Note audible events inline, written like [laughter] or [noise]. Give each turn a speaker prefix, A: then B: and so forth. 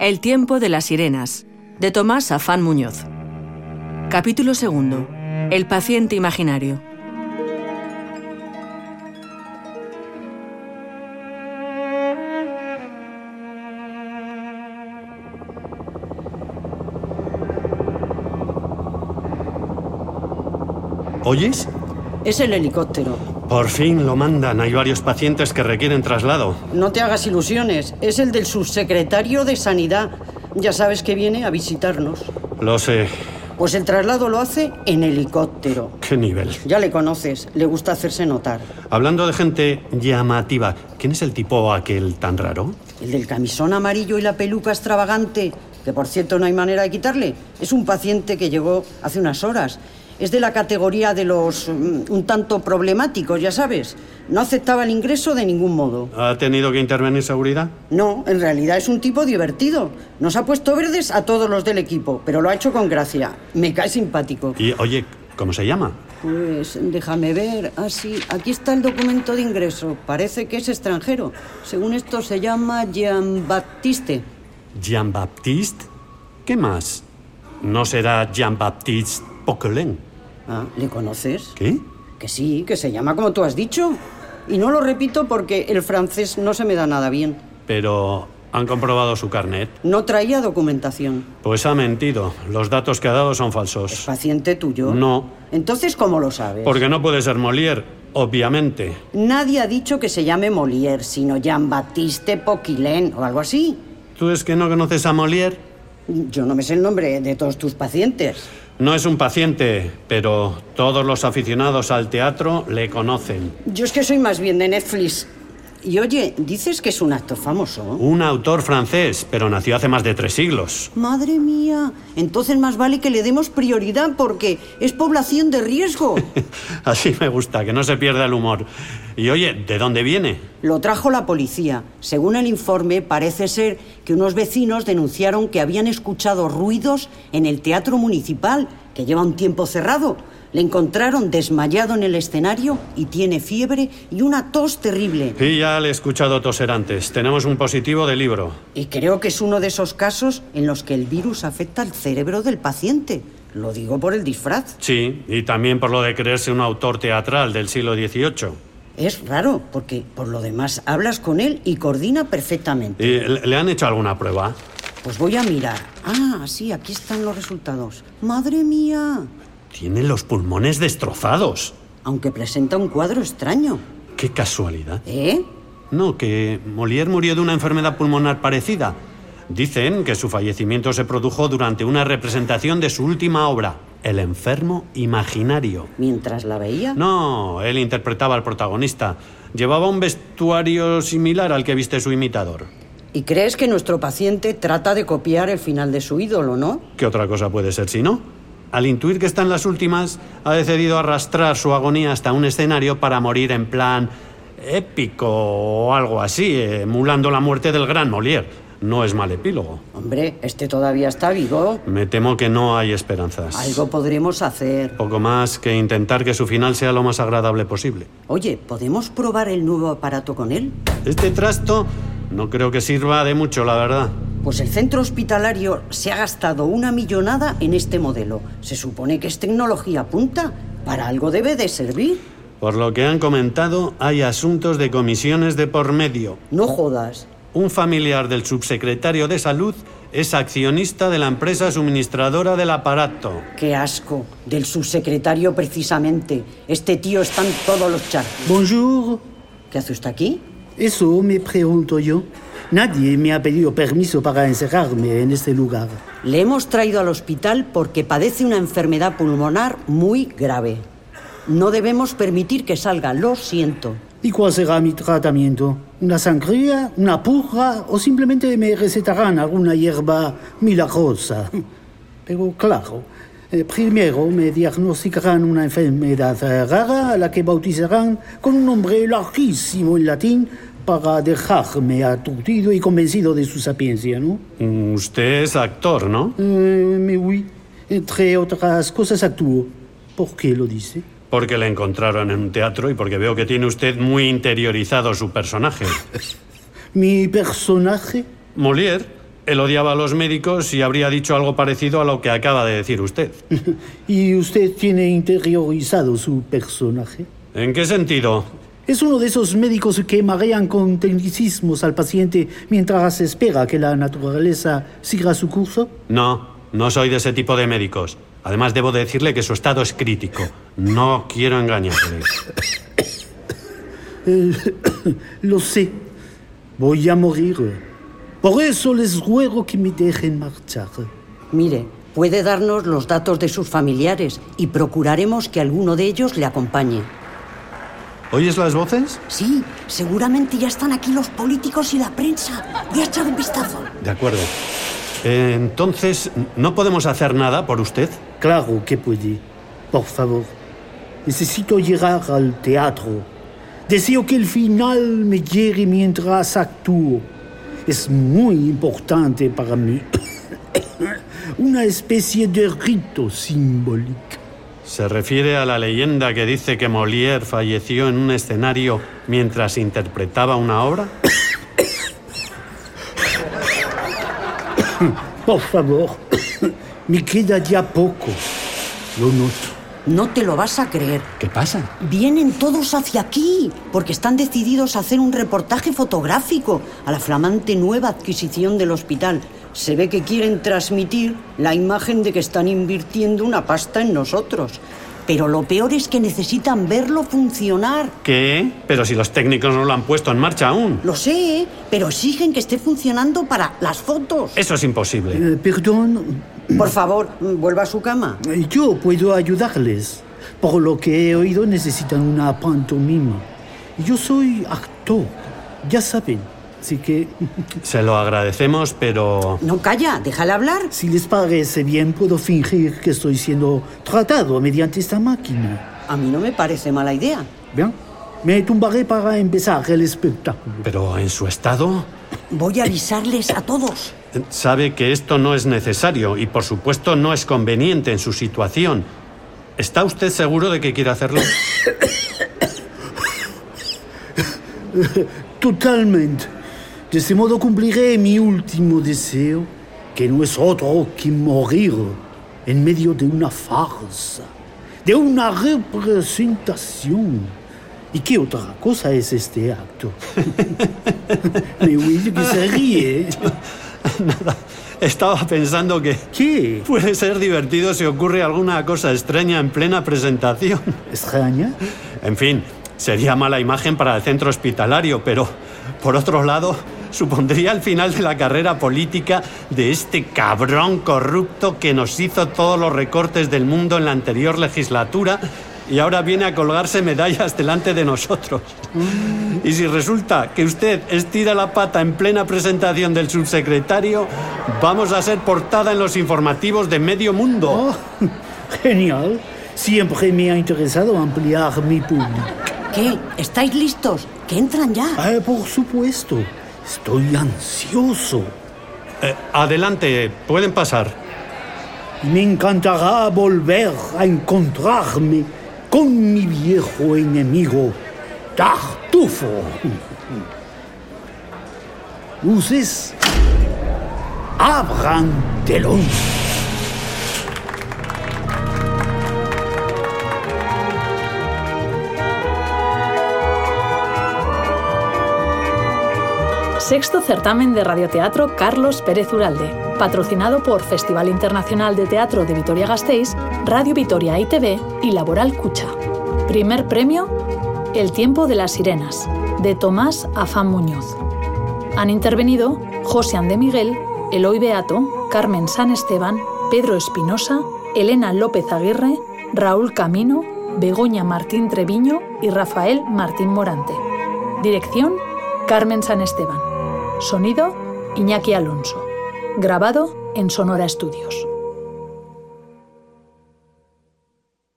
A: El tiempo de las sirenas, de Tomás Afán Muñoz. Capítulo segundo. El paciente imaginario.
B: ¿Oyes?
C: Es el helicóptero.
B: Por fin lo mandan. Hay varios pacientes que requieren traslado.
C: No te hagas ilusiones. Es el del subsecretario de Sanidad. Ya sabes que viene a visitarnos.
B: Lo sé.
C: Pues el traslado lo hace en helicóptero.
B: ¿Qué nivel?
C: Ya le conoces. Le gusta hacerse notar.
B: Hablando de gente llamativa, ¿quién es el tipo aquel tan raro?
C: El del camisón amarillo y la peluca extravagante, que por cierto no hay manera de quitarle. Es un paciente que llegó hace unas horas. Es de la categoría de los mm, un tanto problemáticos, ya sabes. No aceptaba el ingreso de ningún modo.
B: ¿Ha tenido que intervenir seguridad?
C: No, en realidad es un tipo divertido. Nos ha puesto verdes a todos los del equipo, pero lo ha hecho con gracia. Me cae simpático.
B: Y oye, ¿cómo se llama?
C: Pues déjame ver. Ah, sí, aquí está el documento de ingreso. Parece que es extranjero. Según esto se llama Jean-Baptiste.
B: Jean-Baptiste. ¿Qué más? ¿No será Jean-Baptiste Poquelin?
C: Ah, ¿le conoces?
B: ¿Qué?
C: Que sí, que se llama como tú has dicho. Y no lo repito porque el francés no se me da nada bien.
B: Pero han comprobado su carnet.
C: No traía documentación.
B: Pues ha mentido. Los datos que ha dado son falsos.
C: ¿Paciente tuyo?
B: No.
C: Entonces, ¿cómo lo sabes?
B: Porque no puede ser Molière, obviamente.
C: Nadie ha dicho que se llame Molière, sino Jean-Baptiste Poquilén o algo así.
B: ¿Tú es que no conoces a Molière?
C: Yo no me sé el nombre de todos tus pacientes.
B: No es un paciente, pero todos los aficionados al teatro le conocen.
C: Yo es que soy más bien de Netflix. Y oye, dices que es un actor famoso.
B: Un autor francés, pero nació hace más de tres siglos. [laughs]
C: Madre mía, entonces más vale que le demos prioridad porque es población de riesgo.
B: Así me gusta, que no se pierda el humor. Y oye, ¿de dónde viene?
C: Lo trajo la policía. Según el informe, parece ser que unos vecinos denunciaron que habían escuchado ruidos en el teatro municipal, que lleva un tiempo cerrado. Le encontraron desmayado en el escenario y tiene fiebre y una tos terrible.
B: Y ya le he escuchado toser antes. Tenemos un positivo de libro.
C: Y creo que es uno de esos casos en los que el virus afecta al cerebro del paciente. Lo digo por el disfraz.
B: Sí, y también por lo de creerse un autor teatral del siglo XVIII.
C: Es raro, porque por lo demás hablas con él y coordina perfectamente.
B: ¿Y le le han hecho alguna prueba?
C: Pues voy a mirar. Ah, sí, aquí están los resultados. Madre mía,
B: Tiene los pulmones destrozados.
C: aunque presenta un cuadro extraño.
B: Qué casualidad.
C: ¿Eh?
B: No, que Molière murió de una enfermedad pulmonar parecida. Dicen que su fallecimiento se produjo durante una representación de su última obra, El enfermo imaginario.
C: Mientras la veía.
B: No, él interpretaba al protagonista. Llevaba un vestuario similar al que viste su imitador.
C: ¿Y crees que nuestro paciente trata de copiar el final de su ídolo, no?
B: ¿Qué otra cosa puede ser si no? Al intuir que está en las últimas, ha decidido arrastrar su agonía hasta un escenario para morir en plan épico o algo así, emulando la muerte del gran Molière. No es mal epílogo.
C: Hombre, este todavía está vivo.
B: Me temo que no hay esperanzas.
C: Algo podremos hacer.
B: Poco más que intentar que su final sea lo más agradable posible.
C: Oye, ¿podemos probar el nuevo aparato con él?
B: Este trasto no creo que sirva de mucho, la verdad.
C: Pues el centro hospitalario se ha gastado una millonada en este modelo. Se supone que es tecnología punta. Para algo debe de servir.
B: Por lo que han comentado, hay asuntos de comisiones de por medio.
C: No jodas.
B: Un familiar del subsecretario de Salud es accionista de la empresa suministradora del aparato.
C: Qué asco. Del subsecretario precisamente. Este tío está en todos los charcos.
D: Bonjour.
C: ¿Qué hace usted aquí?
D: Eso me pregunto yo. Nadie me ha pedido permiso para encerrarme en este lugar.
C: Le hemos traído al hospital porque padece una enfermedad pulmonar muy grave. No debemos permitir que salga, lo siento.
D: ¿Y cuál será mi tratamiento? ¿Una sangría? ¿Una purga? ¿O simplemente me recetarán alguna hierba milagrosa? [laughs] Pero claro, eh, primero me diagnosticarán una enfermedad eh, rara a la que bautizarán con un nombre larguísimo en latín para dejarme aturdido y convencido de su sapiencia, ¿no?
B: Usted es actor, ¿no?
D: Eh, mais oui, entre otras cosas actúo. ¿Por qué lo dice?
B: Porque le encontraron en un teatro y porque veo que tiene usted muy interiorizado su personaje.
D: Mi personaje
B: Molière Él odiaba a los médicos y habría dicho algo parecido a lo que acaba de decir usted.
D: ¿Y usted tiene interiorizado su personaje?
B: ¿En qué sentido?
D: Es uno de esos médicos que marean con tecnicismos al paciente mientras espera que la naturaleza siga su curso.
B: No, no soy de ese tipo de médicos. Además, debo decirle que su estado es crítico. No quiero engañarle.
D: Eh, lo sé. Voy a morir. Por eso les ruego que me dejen marchar.
C: Mire, puede darnos los datos de sus familiares y procuraremos que alguno de ellos le acompañe.
B: ¿Oyes las voces?
C: Sí, seguramente ya están aquí los políticos y la prensa. Voy a echar un vistazo.
B: De acuerdo. Eh, entonces, ¿no podemos hacer nada por usted?
D: Claro que puede. Por favor, necesito llegar al teatro. Deseo que el final me llegue mientras actúo. Es muy importante para mí. [coughs] Una especie de rito simbólico.
B: Se refiere a la leyenda que dice que Molière falleció en un escenario mientras interpretaba una obra.
D: Por favor, [coughs] me queda ya poco. Lo noto.
C: No te lo vas a creer.
B: ¿Qué pasa?
C: Vienen todos hacia aquí porque están decididos a hacer un reportaje fotográfico a la flamante nueva adquisición del hospital. Se ve que quieren transmitir la imagen de que están invirtiendo una pasta en nosotros. Pero lo peor es que necesitan verlo funcionar.
B: ¿Qué? Pero si los técnicos no lo han puesto en marcha aún.
C: Lo sé, pero exigen que esté funcionando para las fotos.
B: Eso es imposible.
D: Eh, perdón,
C: Por favor, vuelva a su cama.
D: yo puedo ayudarles. Por lo que he oído, necesitan una pantomima. Yo soy actor, ya saben. Así que, [laughs]
B: Se lo agradecemos, pero...
C: No calla, déjale hablar.
D: si les parece bien, puedo fingir que estoy siendo tratado mediante esta máquina.
C: A mí no me parece mala idea.
D: Bien, me tumbaré para empezar el espectáculo.
B: Pero en su estado...
C: Voy a avisarles a todos.
B: eh, Sabe que esto no es necesario y por supuesto no es conveniente en su situación. ¿Está usted seguro de que quiere hacerlo? [laughs]
D: Totalmente. De este modo cumpliré mi último deseo, que no es otro que morir en medio de una farsa, de una representación. ¿Y qué otra cosa es este acto? [laughs] Me oí que se ríe.
B: Nada. Estaba pensando que
D: ¿Qué?
B: puede ser divertido si ocurre alguna cosa extraña en plena presentación.
D: ¿Extraña?
B: En fin, sería mala imagen para el centro hospitalario, pero por otro lado, supondría el final de la carrera política de este cabrón corrupto que nos hizo todos los recortes del mundo en la anterior legislatura y ahora viene a colgarse medallas delante de nosotros. Y si resulta que usted estira la pata en plena presentación del subsecretario, vamos a ser portada en los informativos de medio mundo.
D: Oh, genial. Siempre me ha interesado ampliar mi público.
C: ¿Qué? ¿Estáis listos? Que entran ya.
D: Ah, por supuesto, estoy ansioso.
B: Eh, adelante, pueden pasar.
D: Me encantará volver a encontrarme con mi viejo enemigo, Tartufo. Luces, abran telón.
E: Sexto certamen de radioteatro Carlos Pérez Uralde, patrocinado por Festival Internacional de Teatro de Vitoria-Gasteiz, Radio Vitoria ITV y Laboral Cucha. Primer premio, El tiempo de las sirenas, de Tomás Afán Muñoz. Han intervenido José Andé Miguel, Eloy Beato, Carmen San Esteban, Pedro Espinosa, Elena López Aguirre, Raúl Camino, Begoña Martín Treviño y Rafael Martín Morante. Dirección, Carmen San Esteban. Sonido, Iñaki Alonso. Grabado en Sonora Estudios.